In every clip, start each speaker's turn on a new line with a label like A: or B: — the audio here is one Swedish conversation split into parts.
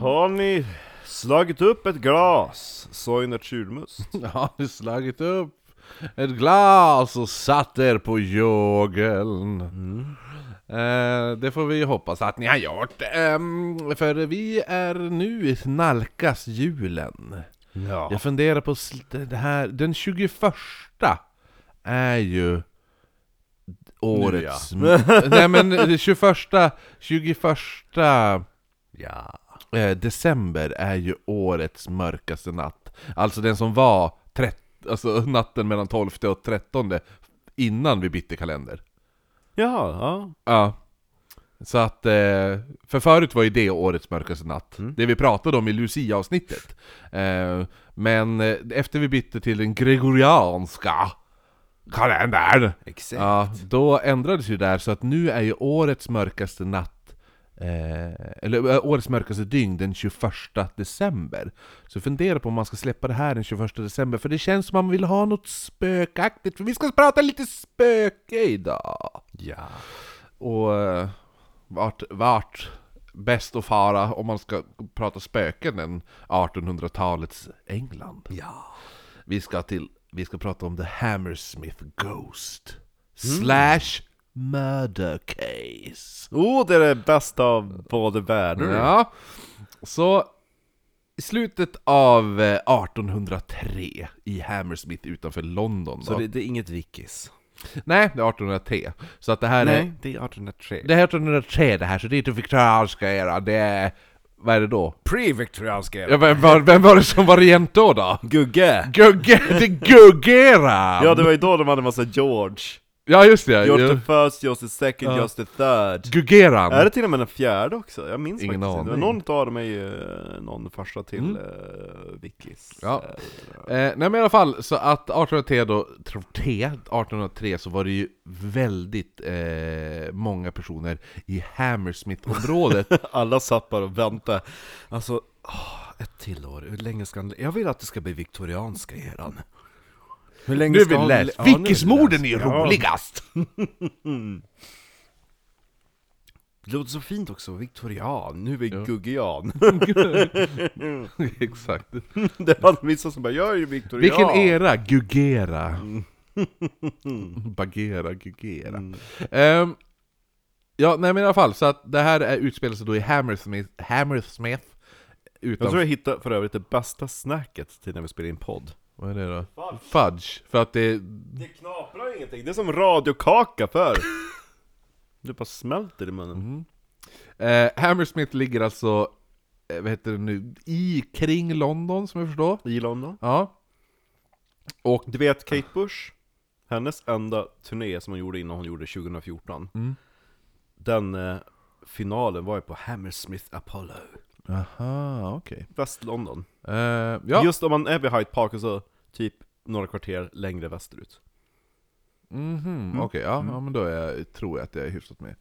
A: Har ni slagit upp ett glas? Soinert julmust.
B: Har ni slagit upp ett glas och satt er på jogeln? Eh, det får vi hoppas att ni har gjort. Ehm, för vi är nu nalkas julen.
A: Ja.
B: Jag funderar på sl- det här, den 21 är ju årets... Nej men det 21, 21
C: Ja.
B: eh, december är ju årets mörkaste natt. Alltså den som var trett, alltså, natten mellan 12 och 13 innan vi bytte kalender.
A: Ja, ja.
B: Ja. Så att, eh, för förut var ju det årets mörkaste natt. Det vi pratade om i Lucia-avsnittet. Eh, men eh, efter vi bytte till den gregorianska kalendern,
C: Exakt.
B: ja, då ändrades ju det där så att nu är ju årets mörkaste natt Eh, eller eh, årets mörkaste dygn den 21 december. Så fundera på om man ska släppa det här den 21 december, för det känns som man vill ha något spökaktigt, för vi ska prata lite spöke idag!
C: Ja.
B: Och eh, vart, vart bäst att fara om man ska prata spöken än 1800-talets England?
C: Ja.
B: Vi ska, till, vi ska prata om The Hammersmith Ghost
C: Mm.
B: Slash Murder Case
A: Oh, det är det bästa av både
C: Mm.
A: världar.
B: Ja, så i slutet av eh, 1803 i Hammersmith utanför London
C: Så
B: då.
C: det, det är inget Vickis?
B: Nej, det är 1803 Så att det här är
A: Nej, det är 1803.
B: Det här är 1803 det här, så det är inte viktorianska eran, det är... Vad är det då?
C: Pre-viktorianska
B: Ja, vem, var, vem var det som var regent då då?
C: Gugge!
B: Gugge, det Guggera!
A: Ja, det var ju då de hade massa George.
B: ja just det,
A: George the
B: ju.
A: first, George the second, George the third.
B: Guggeran!
A: Är det till och med den fjärde också? Jag minns
B: Ingen
A: faktiskt inte. Men
B: aning. Mm.
A: någon av dem är ju eh, någon farsa till eh, Vickis.
B: Ja. Eh, nej men i alla fall, så att 1803 då, tro- T, 1803 så var det ju väldigt eh, många personer i Hammersmith-området
A: Alla satt bara och väntade.
C: Alltså, åh, ett till år. Hur länge ska han... Jag vill att det ska bli viktorianska eran. Hur länge
B: Nu är
C: ska
B: vi
C: han-
B: läst!
C: Ja, nu är vi
B: Vickismorden är ju
C: läst. Ja.
B: roligast!
C: Det låter så fint också, viktorian.
A: Nu är vi Guggian.
B: Exakt.
A: det var vissa som bara, jag är ju Victorian.
B: Vilken era! Gugera! Bagera, Gugera. Ehm, ja, nej men i alla fall, så att det här är utspelar sig då i Hammersmith, Hammersmith
A: Jag tror
B: utanför...
A: jag hittade för övrigt det bästa snacket till när vi spelar in podd.
B: Vad är det då? Fudge! För att det...
A: Det knaprar ingenting, det är som radiokaka för. Du bara smälter i munnen.
B: Eh, Mhm. Hammersmith ligger alltså, eh, vad heter det nu, i, kring London som jag förstår.
A: I London.
B: Ja. Och
A: Du vet Kate Bush? Hennes enda turné som hon gjorde innan hon gjorde 2014.
B: Mm.
A: Den eh, finalen var ju på Hammersmith Apollo.
B: Aha, okej.
A: Väst-London.
B: Eh, ja.
A: Just om man är vid Hyde Park och så typ några kvarter längre västerut.
B: Mhm, Okej, ja, ja men då är jag, tror jag att jag är hyfsat med.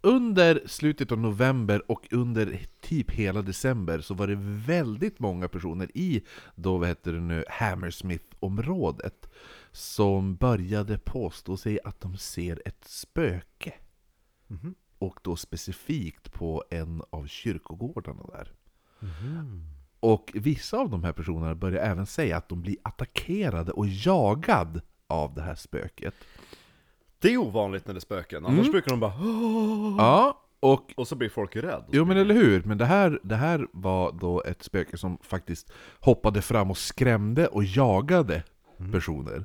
B: Under slutet av november och under typ hela december så var det väldigt många personer i då vad heter det nu, Hammersmith-området som började påstå sig att de ser ett spöke. Mhm. Och då specifikt på en av kyrkogårdarna där. Mhm. Och vissa av de här personerna börjar även säga att de blir attackerade och jagad av det här spöket.
A: Det är ovanligt när det är spöken, annars
B: Mm.
A: brukar de bara "Åh!"
B: Ja, och
A: Och så blir folk rädda.
B: Jo men eller hur, men det här, det här var då ett spöke som faktiskt hoppade fram och skrämde och jagade personer.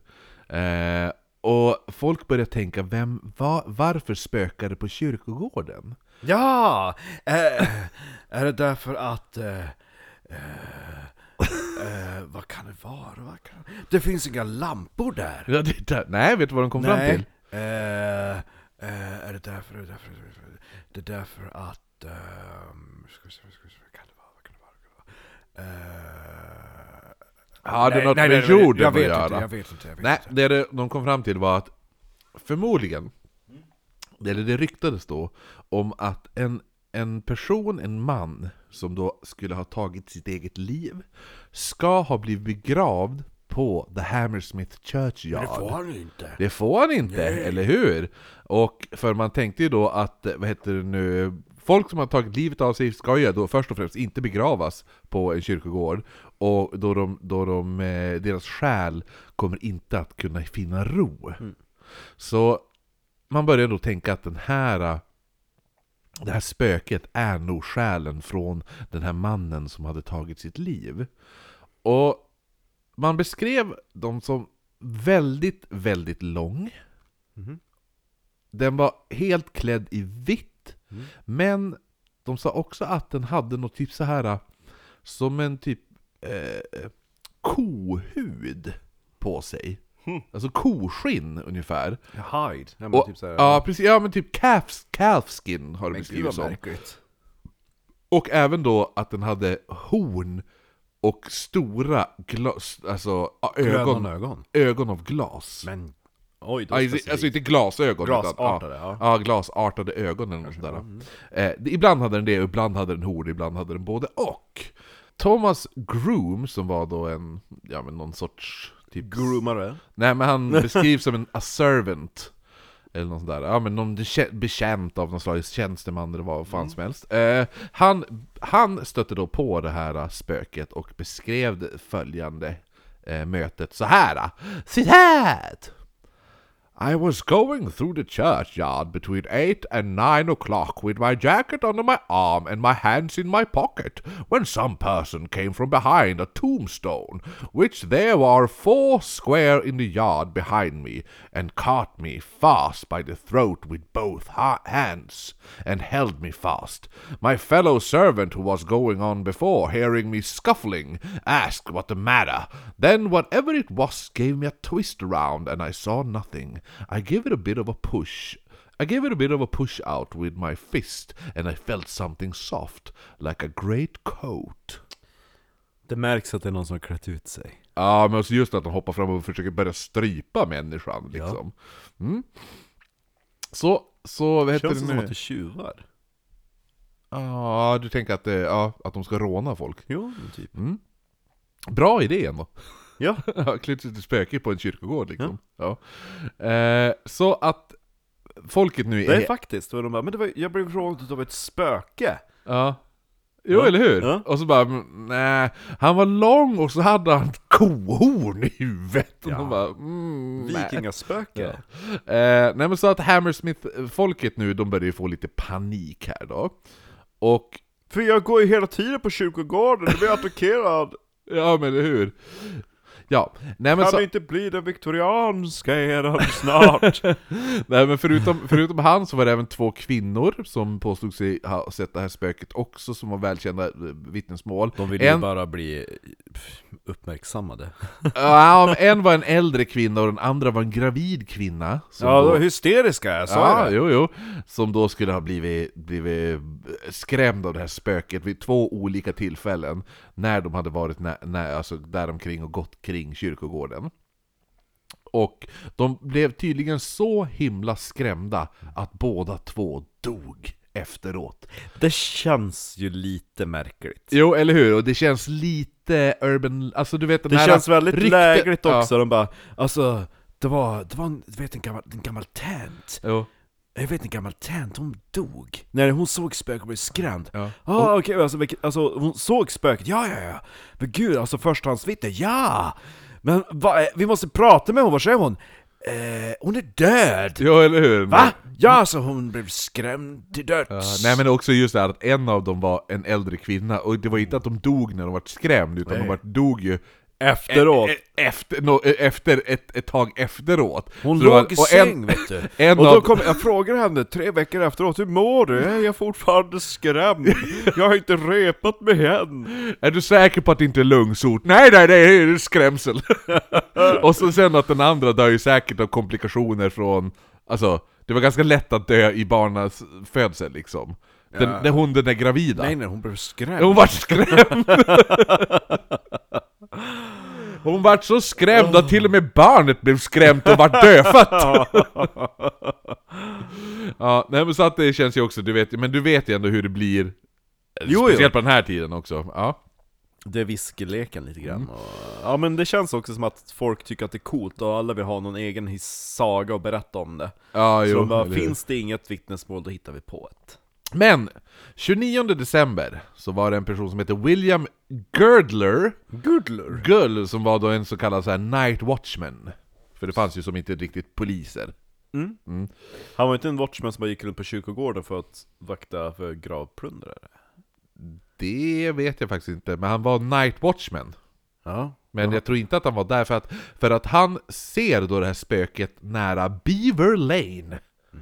B: Eh, och folk började tänka, vem, va, varför spökar det på kyrkogården?
C: Ja! Eh, är det därför att... Eh, eh, eh, vad kan det vara? Vad kan... Det finns inga lampor där!
B: Ja, det där, nej, vet du vad de kom fram till?
C: Eh, eh, är det därför... Är det därför, det är därför att... ehm, ska vi se, ska vi se, vad kan det vara? Vad kan det vara? Vad kan det vara? Eh,
B: Hade något med
C: nej,
B: jorden
C: jag vet
B: att göra?
C: Inte, jag vet inte, jag vet
B: Typ, Nej, det det de kom fram till var att förmodligen, eller det ryktades då, om att en, en person, en man, som då skulle ha tagit sitt eget liv, ska ha blivit begravd på The Hammersmith Churchyard.
C: inte. Får han inte?
B: Det får han inte, eller hur? Och för man tänkte ju då att, eh, vad heter det nu, folk som har tagit livet av sig ska ju då först och främst inte begravas på en kyrkogård, och då de, då de, eh, deras själ kommer inte att kunna finna ro. Så man börjar då tänka att den här eh, det här spöket är nog själen från den här mannen som hade tagit sitt liv. Och man beskrev dem som väldigt, väldigt lång. Mm.
A: Mhm.
B: Den var helt klädd i vitt,
A: Mm.
B: men de sa också att den hade något typ så här som en typ eh, kohud på sig.
A: Hm.
B: Alltså koskinn ungefär.
A: Hide? Ja, men
B: Och,
A: typ såhär...
B: ja, precis. Ja, men typ calfs, calfskin har det
A: men gud
B: beskrivits
A: vad
B: som.
A: märkligt.
B: Och även då att den hade horn och stora glas, alltså ja,
A: Ögon.
B: ögon,
A: ögon.
B: ögon av glas.
A: Men... Oj, då
B: Ja, alltså, alltså inte glasögon. utan-
A: Glasartade, ja.
B: Ja, glasartade ögon eller något sådär. Eh, det- ibland hade den det, ibland hade den horn, ibland hade den både och. Thomas Groom, som var då en, ja men någon sorts... Typ,
A: Groomare.
B: Nej men han beskrivs som en a servant. Eller något sånt där. Ja men någon betjä- betjänt av någon slags tjänsteman eller vad fan som helst. Eh, han, han stötte då på det här eh, spöket och beskrev det följande eh, mötet så här. eh. Citat! I was going through the churchyard between eight and nine o'clock with my jacket under my arm and my hands in my pocket, when some person came from behind a tombstone, which there were four square in the yard behind me, and caught me fast by the throat with both ha- hands, and held me fast. My fellow servant who was going on before, hearing me scuffling, asked what the matter. Then whatever it was gave me a twist around, and I saw nothing. I gave it a bit of a push. I gave it a bit of a push out with my fist, and I felt something soft, like a great coat.
A: Det märks att det är någon som har klätt ut sig.
B: Ja, men också just att de hoppar fram och försöker börja strypa människan liksom. Mm. Så, så vad heter
A: Känns det
B: det
A: som
B: nu?
A: att det är tjuvar?
B: Ja, du tänker att, det- ja, att de ska råna folk?
A: Jo, men typ.
B: Bra idé ändå!
A: Ja.
B: Ja, Klätt sig till spöke på en kyrkogård liksom. Ja. Eh, så att folket nu
A: Det
B: är...
A: är faktiskt, och de bara, men det var, jag blev rånad av ett spöke.
B: ja. Jo,
A: Ja.
B: eller hur?
A: Ja.
B: Och så bara, nej, han var lång och så hade han ett kohorn i huvudet. Och
A: Ja.
B: de bara, mm, nej.
A: Vikingaspöke.
B: Ja. Eh, nej men så att Hammersmith-folket nu, de börjar ju få lite panik här då. Och,
A: För jag går ju hela tiden på kyrkogården, jag blir attackerad.
B: ja men eller hur? Ja, nej men
A: Kan
B: så...
A: det inte bli den viktorianska eran snart?
B: Nej men förutom, förutom han så var det även två kvinnor som påstod sig ha sett det här spöket också, som var välkända eh, vittnesmål.
C: De vill ju
B: en,
C: bara bli pff, uppmärksammade.
B: ja, men en var en äldre kvinna och den andra var en gravid kvinna. som
A: ja,
B: Alltså, då-
A: de var hysteriska, jag sa
B: ja,
A: det.
B: jo, jo. Som då skulle ha blivit, blivit skrämd av det här spöket vid två olika tillfällen när de hade varit nä, nä, alltså däromkring och gått kring kyrkogården. Och de blev tydligen så himla skrämda att båda två dog efteråt.
A: Det känns ju lite märkligt.
B: Jo, eller hur? Och det känns lite urban... Alltså du vet den
A: Det
B: här
A: känns väldigt
B: rykte-
A: lägligt
B: Ja,
A: också, de bara
C: Alltså, det var, det var en, du vet en gammal, en gammal tant.
B: jo.
C: Jag vet en gammal tant, hon dog. När hon såg spöket och blev skrämd.
B: Ja.
C: ah, okej, alltså, vilket- alltså hon såg spöket, ja ja ja. Men gud, alltså förstahandsvittne, ja! Men va, eh, vi måste prata med hon, vad säger hon? Eh, hon är död!
B: jo, eller hur?
C: Va? Ja, så hon blev skrämd till döds.
B: Ja, nej men också just det här att en av dem var en äldre kvinna, och det var inte att de dog när de var skrämd, utan de var, dog ju
A: efteråt.
B: e- e- efter, nå- e- efter ett, ett tag efteråt.
C: Hon
B: Så det
C: låg i
B: och
C: säng, vet du.
B: En
A: Och
B: av,
A: då kom, jag frågade henne tre veckor efteråt, hur mår du? Jag är fortfarande skrämd. Jag har inte repat mig än.
B: Är du säker på att det inte är lungsot? Nej, nej, det är skrämsel! och så sen att den andra dör ju säkert av komplikationer från... Alltså, det var ganska lätt att dö i barnas födsel liksom. Den, den, hon, den är gravida.
C: Nej nej, hon blev skrämd.
B: Hon vart skrämd! Hon vart så skrämd att till och med barnet blev skrämt och vart dödfött! ja, nej men så att det känns ju också, du vet, men du vet ju ändå hur det blir
A: Jo, jo.
B: Speciellt på den här tiden också, ja.
A: Det är viskeleken lite
B: Mm.
A: grann och, Ja men det känns också som att folk tycker att det är coolt och alla vill ha någon egen his- saga och berätta om det
B: ja
A: Så
B: jo,
A: de bara,
B: eller hur.
A: finns det inget vittnesmål då hittar vi på ett
B: Men! 29 december så var det en person som hette William Girdler
A: Gudler?
B: Gull som var då en så kallad så här night watchman För det fanns ju som inte riktigt poliser
A: Han var inte en watchman som bara gick runt på kyrkogården för att vakta för gravplundrare?
B: Det vet jag faktiskt inte, men han var night watchman
A: Ja
B: Men jag tror inte att han var där för att, för att han ser då det här spöket nära Beaver Lane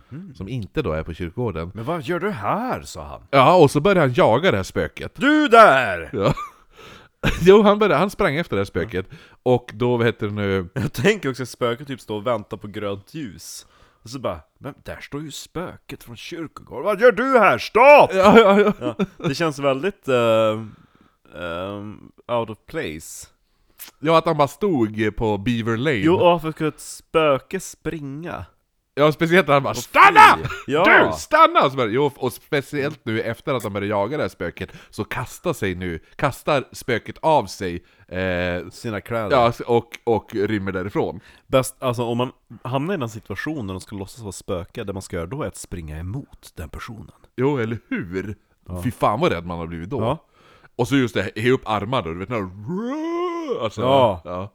A: Mhm.
B: Som inte då är på kyrkogården
A: Men vad gör du här? sa han
B: Ja, och så börjar han jaga det här spöket
A: Du där!
B: Ja. Jo, han, började, han sprang efter det här spöket Och då, vad heter det nu?
A: Jag tänker också att spöket typ står och väntar på grönt ljus Och så bara, men där står ju spöket från kyrkogården Vad gör du här? Stopp!
B: Ja, ja, ja.
A: Det känns väldigt eh, eh, out of place
B: ja, att han bara stod på Beaver Lane
A: Jo, och varför skulle ett spöke springa?
B: Ja, speciellt när han bara STANNA!
A: Ja.
B: Du, stanna! Och, så bara, jo, och speciellt nu efter att de började jaga det här spöket Så kastar sig nu, kastar spöket av sig eh,
A: Sina kläder.
B: Ja, och, och rymmer därifrån
A: Bäst, alltså om man hamnar i den situationen där de ska låtsas vara spöke, det man ska göra då är att springa emot den personen.
B: Jo, eller hur? Fy fan vad rädd man har blivit då
A: Ja.
B: Och så just det, he upp armar då, du vet när de- alltså,
A: Ja.
B: ja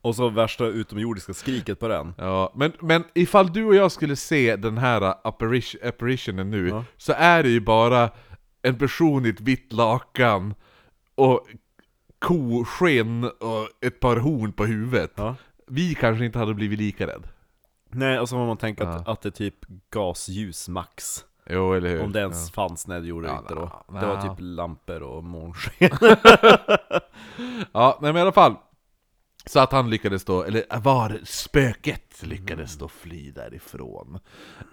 A: Och så värsta utomjordiska skriket på den.
B: Ja, men, men ifall du och jag skulle se den här apparition, apparitionen nu, så är det ju bara en person i ett vitt lakan och kosken och ett par horn på huvudet.
A: Ja.
B: Vi kanske inte hade blivit lika rädd.
A: Nej, och så har man tänkt att, att det är typ gasljus max.
B: Jo, eller hur?
A: Om det ens fanns, nej det gjorde det
B: typ. Ja,
A: inte då.
B: nja,
A: Det var
B: nja.
A: typ lampor och månsken.
B: Ja, nej, men i alla fall. Så att han lyckades då, eller var spöket lyckades då fly därifrån.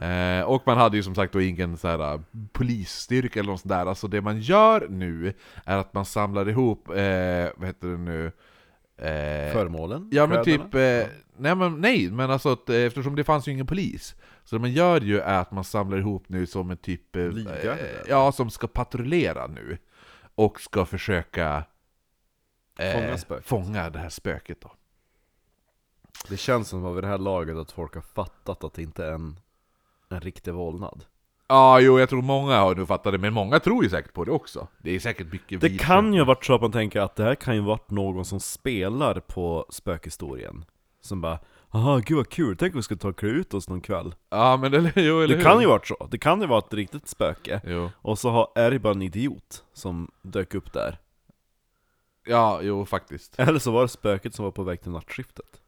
B: Eh, och man hade ju som sagt då ingen så här, eh, polisstyrka eller något sånt där. Alltså det man gör nu är att man samlar ihop, eh, vad heter det nu? Eh,
A: Föremålen?
B: Ja men
A: kläderna.
B: typ, eh, nej, men, nej men alltså att, eh, eftersom det fanns ju ingen polis Så det man gör ju är att man samlar ihop nu som en typ, eh,
A: Livvakter,
B: eh,
A: eller?
B: ja som ska patrullera nu Och ska försöka eh,
A: Fånga spöket.
B: fånga det här spöket då
A: Det känns som att vid det här laget att folk har fattat att det inte är en, en riktig vålnad.
B: Ja jo jag tror många har nu fattat det, men många tror ju säkert på det också Det är säkert mycket
A: Det
B: vit-
A: kan ju ha varit så att man tänker att det här kan ju ha varit någon som spelar på spökhistorien Som bara Aha, gud vad kul, tänk om vi skulle ta och klä ut oss någon kväll
B: Ja men eller, jo, eller
A: Det kan ju ha varit så, det kan ju vara ett riktigt spöke
B: Jo.
A: Och så har, är det bara en idiot som dök upp där
B: Ja, jo faktiskt.
A: Eller så var det spöket som var på väg till nattskiftet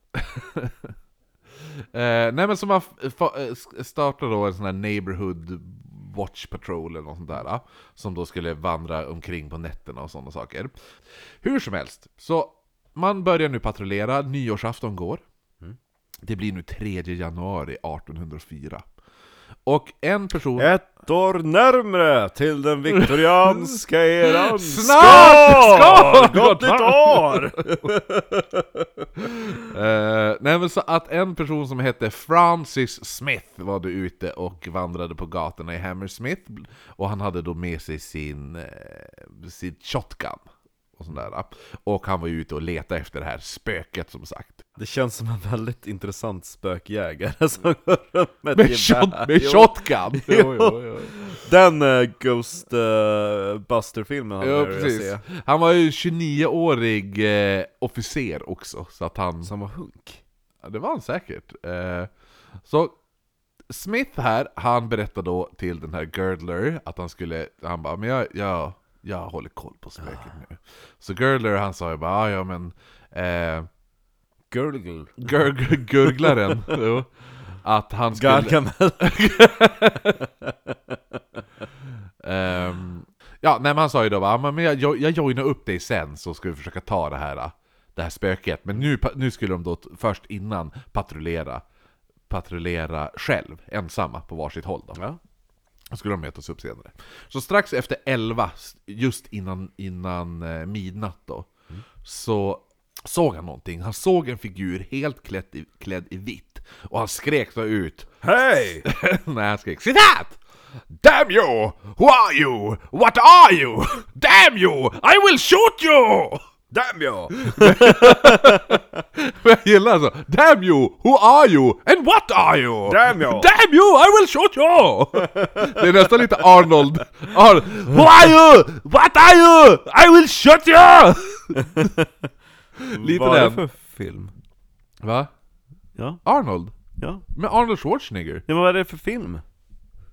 B: Eh, nej men som man f- fa- eh, s- startade då en sån här Neighborhood Watch Patrol eller något sånt där. eh, Som då skulle vandra omkring på nätterna och sådana saker. Hur som helst, så man börjar nu patrullera, nyårsafton går. Det blir nu 3 januari 1804. Och en person...
A: Ett år närmre till den viktorianska eran
B: Snart! Skål!
A: Gott nytt år!
B: Eh, nej men så att en person som hette Francis Smith var då ute och vandrade på gatorna i Hammersmith Och han hade då med sig sin, eh, sin shotgun och sånt där. Och han var ju ute och letade efter det här spöket som sagt
A: Det känns som en väldigt intressant spökjägare som går runt Mm. med,
B: Med,
A: ett gevär.
B: shot, med
A: Jo.
B: shotgun! Jo, jo, jo.
A: Den eh, Ghost eh, Buster-filmen hade
B: Ja,
A: jag velat
B: precis.
A: se.
B: Han var ju 29-årig eh, officer också så att han...
A: Som var hunk.
B: Ja, det var han säkert. Eh, så Smith här, han berättar då till den här Girdler att han skulle, han bara men jag, jag, jag håller koll på spöket nu. Så Girdler han sa ju bara "Ah, ja men eh,
A: Gurgle.
B: gurg, gurglaren, jo, att han skulle...
A: Gargamel.
B: Ehm, ja, nej, men han sa ju då bara, "Ah, men jag, jag, jag joinar upp dig sen så ska vi försöka ta det här, det här spöket. Men nu, pa- nu skulle de då t- först innan patrullera, patrullera själv, ensamma på varsitt håll. Då.
A: Ja.
B: Då skulle de mötas upp senare. Så strax efter 11, just innan, innan eh, midnatt då, så Såg han någonting? Han såg en figur helt klädd i, klädd i vitt. Och han skrek då ut
C: Hej!
B: Nej, han skrek citat! Damn you! Who are you? What are you? Damn you! I will shoot you!
C: Damn you!
B: För jag gillar alltså, damn you, who are you, and what are you?
C: Damn you!
B: Damn you, I will shoot you! Det är nästan lite Arnold. Ar who are you? What are you? I will shoot you! Lite
A: Vad är det för
B: den.
A: film?
B: Va?
A: Ja,
B: Arnold?
A: ja.
B: Men Arnold Schwarzenegger?
A: Ja men vad är det för film?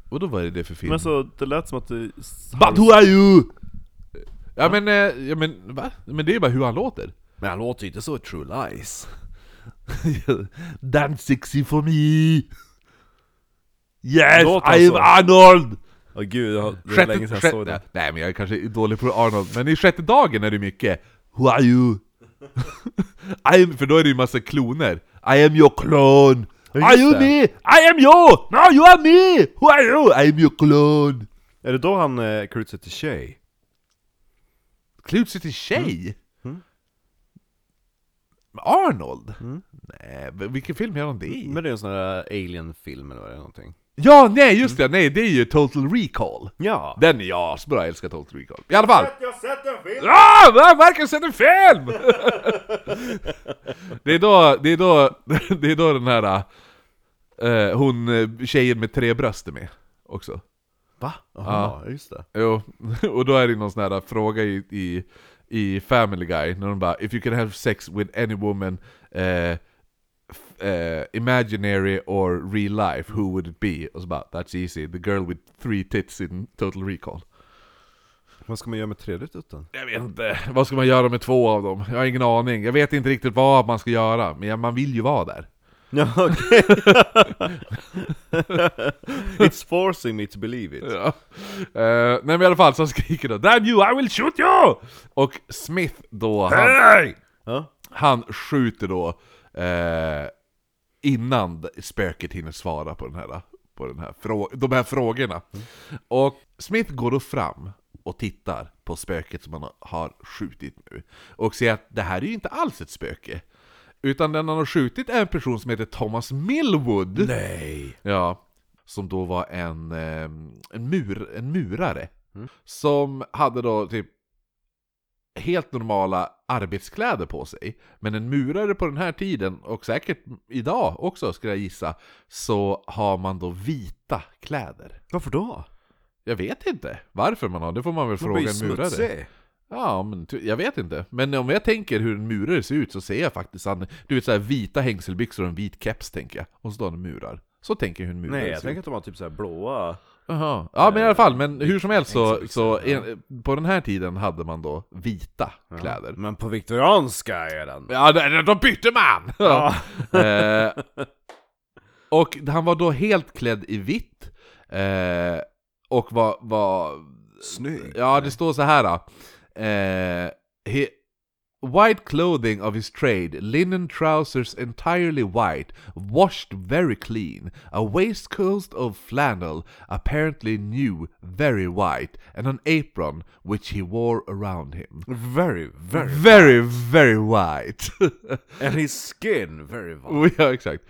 B: Och då var det det för film?
A: Men alltså, det lät som att det...
B: But who are you? Ja men, eh, ja men va? Men det är ju bara hur han låter.
A: Men han låter ju inte så i True Lies.
B: Dance sexy for me! Yes,
A: Låter han
B: I am
A: så?
B: Arnold!
A: Åh gud, jag- det var
B: Sjätte,
A: länge sedan jag
B: sjätte-
A: såg det.
B: Nej men jag är kanske dålig på Arnold, men i sjätte dagen är det mycket Who are you? I am, för då är det ju massa kloner I am your clone! Are
A: just
B: you
A: det.
B: me? I am you! No you are me! Who are you? I am your clone!
A: Är det då han eh, klär ut sig till tjej?
B: Klär sig till tjej?
A: Mm.
B: Arnold?
A: Mm.
B: Nej, men vilken film gör han det i?
A: Men det är en sån där alien-film eller vad det är någonting.
B: Ja, nej just det, nej det är ju Total Recall!
A: Ja!
B: Den är jag asbra, jag älskar Total Recall. I alla fall!
C: Jag sett en film!
B: Ah, va? Marcus sett en film! det, är då, det, är då, det är då den här eh, hon eh, tjejen med tre bröst är med också.
A: Va? Jaha, just det.
B: Jo, och då är det någon sån här fråga i, i, i Family Guy, när de bara 'If you can have sex with any woman, eh, f- eh, imaginary or real life, who would it be?' Och så bara 'That's easy, the girl with three tits in total recall'
A: Vad ska man göra med tredje tutten?
B: Jag vet inte. Vad ska man göra med två av dem? Jag har ingen aning. Jag vet inte riktigt vad man ska göra, men jag- man vill ju vara där.
A: Ja, okej. It's forcing me to believe it.
B: Ja. Eh, nej men i alla fall, så han skriker då 'Damn you, I will shoot you!' Och Smith då, han,
C: Hej!
A: Ja.
B: han skjuter då eh, innan d- spöket hinner svara på, den här, på den här frå- de här frågorna. Och Smith går då fram och tittar på spöket som han har skjutit nu. Och ser att det här är ju inte alls ett spöke. Utan den han har skjutit är en person som heter Thomas Millwood.
A: Nej!
B: Ja. Som då var en, eh, en, mur, en murare.
A: Mm.
B: Som hade då typ helt normala arbetskläder på sig. Men en murare på den här tiden, och säkert idag också skulle jag gissa, så har man då vita kläder.
A: Varför då?
B: Jag vet inte varför man har, det får man väl
A: Man blir
B: fråga en murare.
A: smutsig.
B: Ja, men ty- jag vet inte. Men om jag tänker hur en murare ser ut så ser jag faktiskt han, du vet såhär vita hängselbyxor och en vit keps tänker jag. Och så står han och murar. Så tänker jag hur en murare
A: Nej, jag
B: ser ut.
A: tänker att de har typ såhär blåa...
B: Jaha. Ja men i alla fall, men hur som helst så, så en, på den här tiden hade man då vita kläder.
C: Men på viktorianska är den.
B: Ja, de, de bytte man! eh, och han var då helt klädd i vitt, eh, och var, var...
A: Snygg.
B: Ja, det står så här. då. Eh, he, White clothing of his trade, linen trousers entirely white, washed very clean, a waistcoat of flannel, apparently new, very white, and an apron which he wore around him.
A: Very, very...
B: Very, very white.
A: And his skin, very white.
B: Oh, ja, exakt.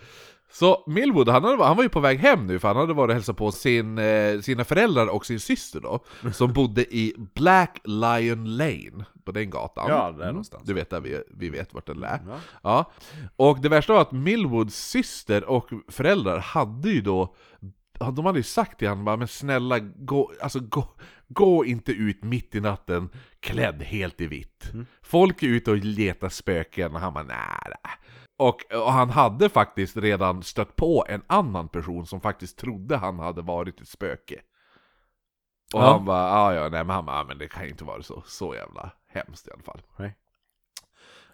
B: Så Millwood, han, hade, han var ju på väg hem nu för han hade varit och hälsat på sin, eh, sina föräldrar och sin syster då, som bodde i Black Lion Lane, på den gatan.
A: Ja, där någonstans.
B: Du vet där vi, vi vet vart den är. Ja. Och det värsta var att Millwoods syster och föräldrar hade ju då de hade ju sagt till honom bara, men snälla gå, alltså, gå, gå inte ut mitt i natten klädd helt i vitt. Folk är ute och letar spöken och han bara nära. Och, och han hade faktiskt redan stött på en annan person som faktiskt trodde han hade varit ett spöke. Och
A: Ja.
B: han bara, ja ja, nej men han bara, "Ah, men det kan ju inte vara så, så jävla hemskt i alla fall.
A: Nej.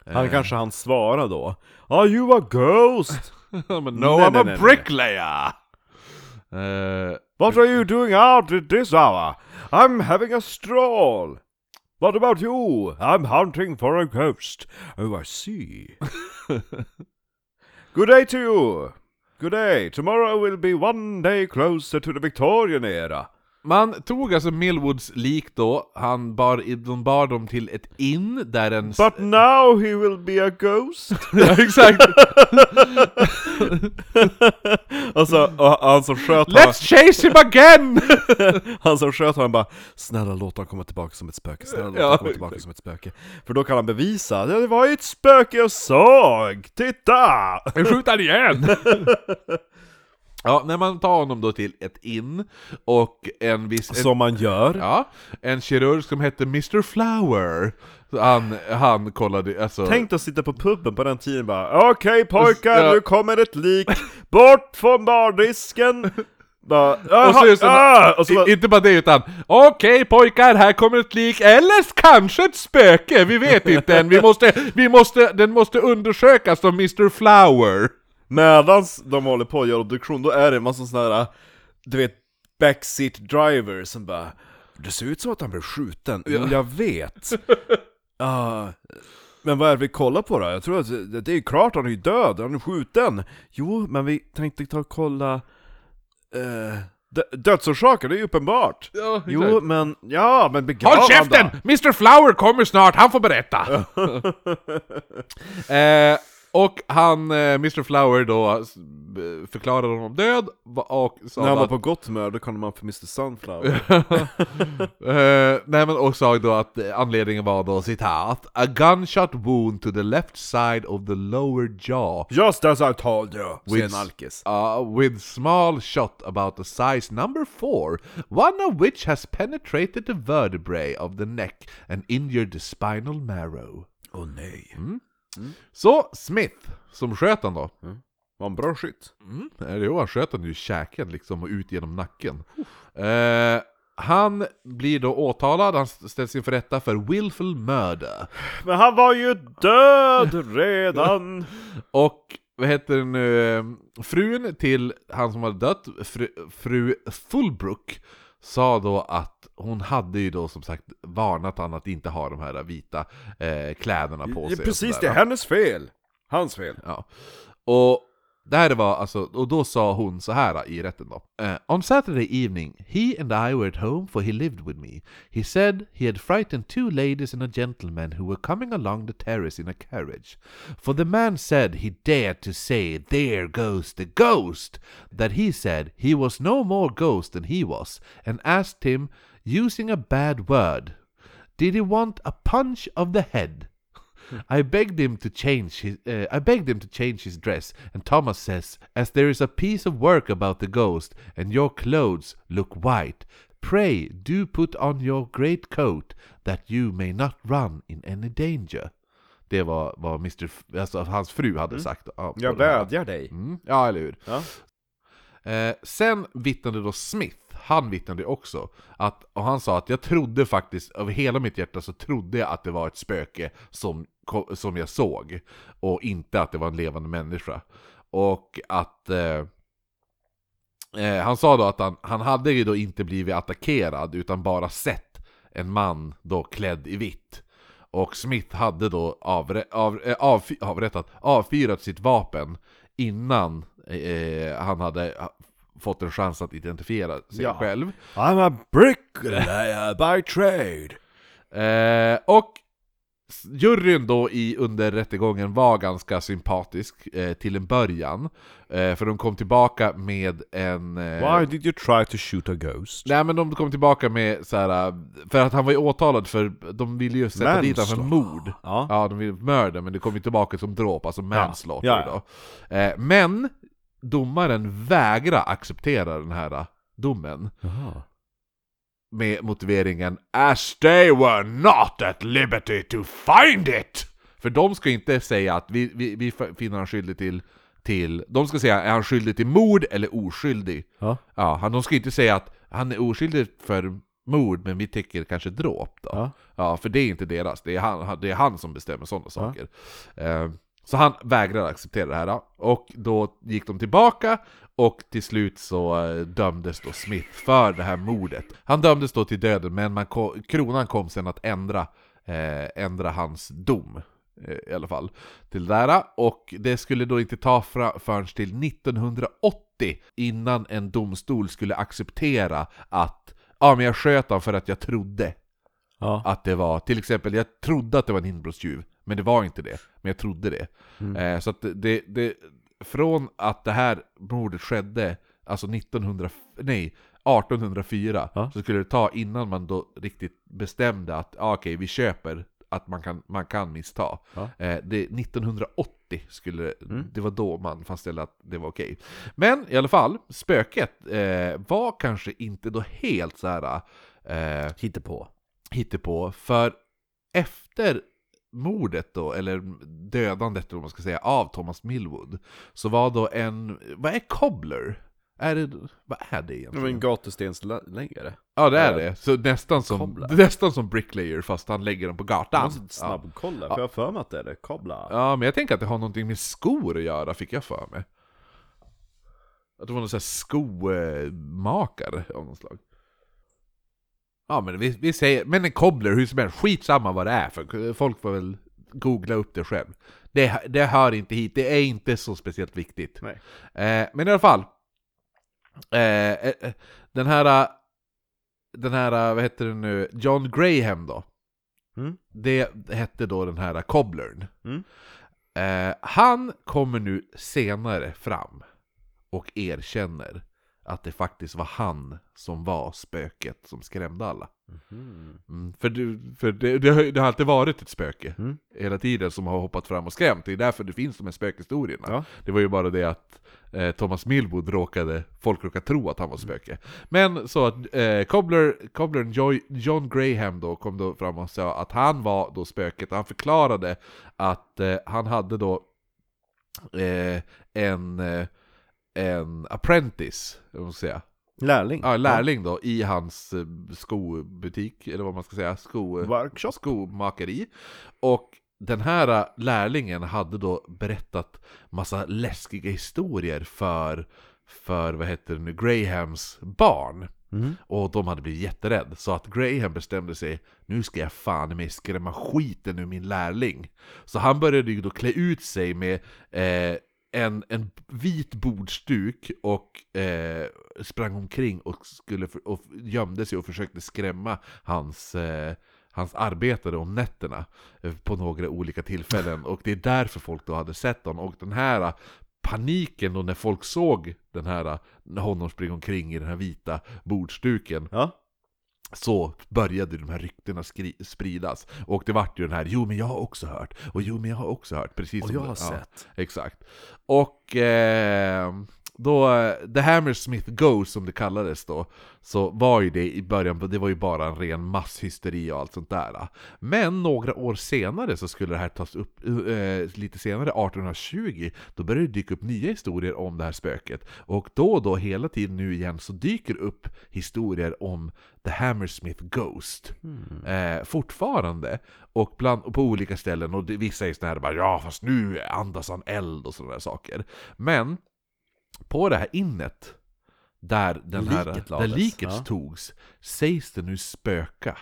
A: Han kanske han svara då. Are you a ghost?
B: men no,
A: Nej,
B: I'm
A: nej,
B: a
A: nej, nej.
B: bricklayer! Eh,
A: What are you doing out at this hour? I'm having a stroll. What about you? I'm hunting for a ghost. Oh, I see. Good day to you. Good day. Tomorrow will be one day closer to the Victorian era.
B: Man tog alltså Millwoods lik då, han bar, i- de bar dem till ett inn där en... s-
A: But now he will be a ghost!
B: ja, exakt!
A: Alltså, och han som sköt honom,
B: Let's chase him again!
A: han som sköt honom bara Snälla låt honom komma tillbaka som ett spöke, snälla låt
B: Ja,
A: honom komma tillbaka som ett spöke För då kan han bevisa, "Ja, det var ju ett spöke jag såg! Titta!
B: Nu skjuter han igen! ja, när man tar honom då till ett inn och en viss... En,
A: Som man gör
B: ja, en kirurg som hette Mr Flower. Så Han, han kollade alltså...
A: Tänk dig att sitta på puben på den tiden bara Okej pojkar,
B: Ja.
A: nu kommer ett lik Bort från bardisken! Bara,
B: och så,
A: "Jaha,
B: är det så,
A: ah!" och så bara,
B: i- inte bara det utan Okej pojkar, här kommer ett lik, eller kanske ett spöke, vi vet inte än, vi måste, vi måste, den måste undersökas av Mr Flower
A: Medans de håller på att göra obduktion, då är det en massa sådana här, du vet, backseat drivers som bara Det ser ut som att han blev skjuten, jo jag vet. Ah, men vad är det vi kollar på då? Jag tror att det, det är klart, han är ju död, han är skjuten. Jo, men vi tänkte ta och kolla eh, dö- Dödsorsaken, det är ju uppenbart!
B: ja,
A: Jo, men, ja, men begrav
B: Håll
A: han då.
B: käften! Mr Flower kommer snart, han får berätta! eh, och han, eh, Mr Flower då, s- b- förklarade honom död va- och sa
A: När han var
B: att,
A: på gott humör, då kallade man för Mr Sunflower.
B: eh, nej, men och sa då att eh, anledningen var då citat A gunshot wound to the left side of the lower jaw
A: Just as I told you, säger
B: With-
A: en alkis.
B: Uh, with small shot about the size number four, one of which has penetrated the vertebrae of the neck and injured the spinal marrow. Mm.
A: Åh nej.
B: Så Smith, som sköt han då,
A: Var en bra skytt.
B: eller jo han sköt han ju i käken liksom och ut genom nacken. Eh, han blir då åtalad, han ställs inför rätta för willful murder.
A: Men han var ju död redan!
B: Och vad heter den nu? eh, Frun till han som hade dött, fru, fru Fullbrook, sa då att hon hade ju då som sagt varnat han att inte ha de här vita eh, kläderna på sig. och
A: Precis, det
B: sådär.
A: är hennes fel! Hans fel.
B: Ja. Och det här var alltså, och då sa hon så här i rätten då. Eh, On Saturday evening, he and I were at home for he lived with me. He said he had frightened two ladies and a gentleman who were coming along the terrace in a carriage. For the man said he dared to say there goes the ghost, that he said he was no more ghost than he was, and asked him, using a bad word, did he want a punch of the head? I begged him to change his. Uh, I begged him to change his dress, and Thomas says, "As there is a piece of work about the ghost, and your clothes look white, pray do put on your great coat, that you may not run in any danger." Det var vad Mr. F- alltså hans fru hade sagt. Mm. Ja, på
A: Jag
B: den här-
A: vädjar dig.
B: Mm, ja, eller hur?
A: Ja.
B: Eh, sen vittnade då Smith, han vittnade också, att, och han sa att jag trodde faktiskt, av hela mitt hjärta så trodde jag att det var ett spöke som, ko- som jag såg, och inte att det var en levande människa. Och att... Eh, eh, han sa då att han, han hade ju då inte blivit attackerad utan bara sett en man då klädd i vitt. Och Smith hade då avre, av, eh, avfy, avrättat, avfyrat sitt vapen innan eh, han hade ha- fått en chans att identifiera sig
A: Ja.
B: själv.
A: I'm a bricklayer by trade.
B: Eh, och s- juryn då i under rättegången var ganska sympatisk eh, till en början. Eh, för de kom tillbaka med en... eh,
A: Why did you try to shoot a ghost?
B: Nej men de kom tillbaka med så här äh, för att han var ju åtalad för, de ville ju sätta dit honom för
A: Manslaughter.
B: mord.
A: Ja.
B: Ja, de ville mörda men det kom ju tillbaka som dråp, alltså manslaughter
A: Ja, ja.
B: då. Eh, men domaren vägrar acceptera den här eh, domen med motiveringen As they were not at liberty to find it! För de ska inte säga att vi, vi, vi finner han skyldig till, till... De ska säga är han skyldig till mord eller oskyldig?
A: Ja.
B: Ja, han, de ska inte säga att han är oskyldig för mord, men vi tycker kanske dråp då. Ja.
A: Ja.
B: för det är inte deras, det är han, han- det är han som bestämmer sådana saker. Eh, så han vägrade acceptera det här, då. och då gick de tillbaka, och till slut så eh, dömdes då Smith för det här mordet. Han dömdes då till döden, men man ko- kronan kom sen att ändra, eh, ändra hans dom. eh, I alla fall till det där och det skulle då inte ta fra- förrän till 1980 innan en domstol skulle acceptera att Ja men jag sköt han för att jag trodde
C: Ja.
B: att det var, till exempel jag trodde att det var en inbrottstjuv, men det var inte det. Men jag trodde det.
C: Mm.
B: Eh, så att det, det, från att det här mordet skedde, alltså 1900, nej, 1804,
C: Ja.
B: så skulle det ta innan man då riktigt bestämde att ah, okej, vi köper att man kan, man kan missta.
C: Ja. Mm.
B: Eh, det, 1980 skulle, det var då man fastställde att det var okej. Men i alla fall, spöket eh, var kanske inte då helt så här. Eh,
C: Hitta på.
B: hittepå, för efter mordet då, eller dödandet eller vad man ska säga, av Thomas Millwood, så var då en, vad är cobbler? Är det, vad är det
A: Det var en
B: egentligen?
A: gatustensläggare.
B: Ja det är det, så nästan som,
A: Cobbler.
B: nästan som bricklayer fast han lägger dem på
A: Jag
B: gatan.
A: måste snabbkolla, för jag har för mig att det är det. Kobla.
B: Ja men jag tänker att det har någonting med skor att göra, fick jag för mig. Att det var någon sån här skomakare av något slag. Ja men vi, vi säger, men en cobbler hur som helst, skitsamma vad det är för folk får väl googla upp det själv. Det, det hör inte hit, det är inte så speciellt viktigt.
A: Nej.
B: Eh, men i alla fall. Eh, eh, eh, den här, eh, den här, eh, vad heter det nu, John Graham då.
A: Mm.
B: Det hette då den här eh, cobblern.
A: Mm.
B: Eh, han kommer nu senare fram och erkänner att det faktiskt var han som var spöket som skrämde alla. Mm, för du, för det, det, har, ju- det har alltid varit ett spöke
A: Mm.
B: hela tiden som har hoppat fram och skrämt. Det är därför det finns de här spökhistorierna.
A: Ja.
B: Det var ju bara det att eh, Thomas Millwood råkade, folk råkade tro att han var spöke. Men så att eh, Cobbler, Cobblern Joy, John Graham då kom då fram och sa att han var då spöket. Han förklarade att eh, han hade då eh, en, eh, en apprentice, vad man ska säga.
A: Lärling.
B: Ja, lärling då, i hans eh, skobutik, eller vad man ska säga, sko,
A: Workshop.
B: skomakeri. Och den här eh, lärlingen hade då berättat massa läskiga historier för, för vad heter det nu, Grahams barn. Och de hade blivit jätterädd, så att Graham bestämde sig Nu ska jag fan mig skrämma skiten ur min lärling Så han började ju då klä ut sig med eh, en, en vit bordsduk och eh, sprang omkring och, skulle för, och gömde sig och försökte skrämma hans eh, Hans arbetare om nätterna eh, på några olika tillfällen och det är därför folk då hade sett honom och den här eh, paniken då när folk såg den här, eh, honom springa omkring i den här vita bordsduken
A: Ja.
B: så började de här ryktena skri- spridas. Och det vart ju den här 'Jo men jag har också hört' och 'Jo men jag har också hört' precis
A: Och
B: som
A: jag
B: det-
A: har
B: ja.
A: sett.
B: Exakt. Och eh, då, eh, The Hammersmith Ghost som det kallades då, så var ju det i början, det var ju bara en ren masshysteri och allt sånt där. Men några år senare så skulle det här tas upp, eh, lite senare, 1820, då började det dyka upp nya historier om det här spöket. Och då och då, hela tiden nu igen, så dyker det upp historier om The Hammersmith Ghost.
A: Mm.
B: Eh, fortfarande. Och, bland, och på olika ställen. Och det, vissa är sådana här bara ja fast nu andas han eld och sådana där saker. Men på det här innet, där, den här,
A: Liket
B: där
A: lades,
B: liket
A: ja.
B: togs, sägs det nu spöka.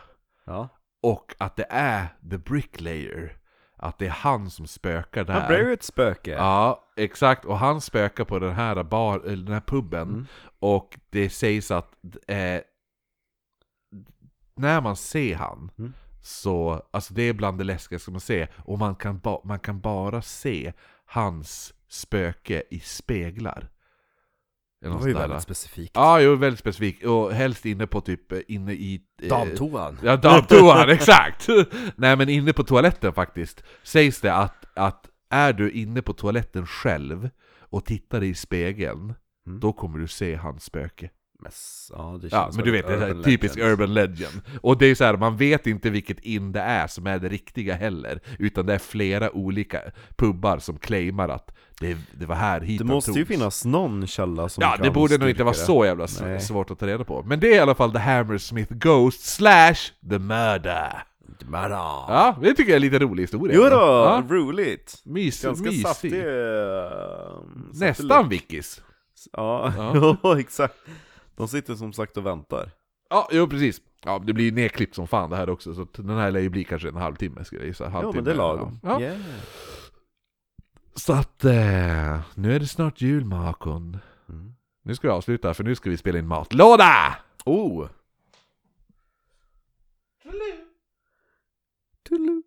A: Ja.
B: Och att det är The Bricklayer. Att det är han som spökar där.
A: Han blev ju ett spöke.
B: Ja, exakt. Och han spökar på den här, bar, eller den här puben.
A: Mm.
B: Och det sägs att eh, när man ser han,
A: Mm.
B: så alltså det är bland det läskigaste man ser. Och man kan, ba, man kan bara se hans spöke i speglar.
A: Det var äh, ju väldigt specifikt.
B: Ja, jo, väldigt specifikt. Och helst inne på typ, eh, inne i... eh,
A: Damtoan.
B: Ja, damtoan, exakt! Nej men inne på toaletten faktiskt, sägs det att, att är du inne på toaletten själv och tittar i spegeln,
A: Mm.
B: då kommer du se hans spöke.
A: Men s- Ja, det
B: Ja,
A: känns
B: men
A: som
B: du
A: en
B: vet, det är
A: urban
B: här typisk
A: legend.
B: urban legend. Och det är så här, man vet inte vilket in det är som är det riktiga heller, utan det är flera olika pubbar som claimar att det, det var här hit
A: Det
B: han
A: måste ju
B: togs.
A: finnas någon källa som
B: Ja,
A: kan
B: det borde nog
A: styrka
B: inte vara
A: det.
B: så jävla s-
A: Nej.
B: svårt att ta reda på. Men det är i alla fall The Hammersmith Ghost slash The Murder.
A: Men ja.
B: Ja, det tycker jag är lite rolig historia.
A: Jo då,
B: Ja,
A: roligt!
B: mys,
A: Ganska
B: mysig.
A: saftig... eh, saftig
B: Nästan
A: look.
B: Vickis.
A: Ja,
B: Ja.
A: ja. exakt. De sitter som sagt och väntar.
B: Ja, jo precis. Ja, det blir ju nedklippt som fan det här också, så att den här lär ju bli kanske en halvtimme skulle jag gissa.
A: Ja,
B: Halvtimme,
A: men det är lagom.
B: Ja.
A: Yeah.
B: Så att, eh, nu är det snart jul Makon.
A: Mm.
B: Nu ska vi avsluta, för nu ska vi spela in matlåda!
A: Oh!
B: Trolleyloo!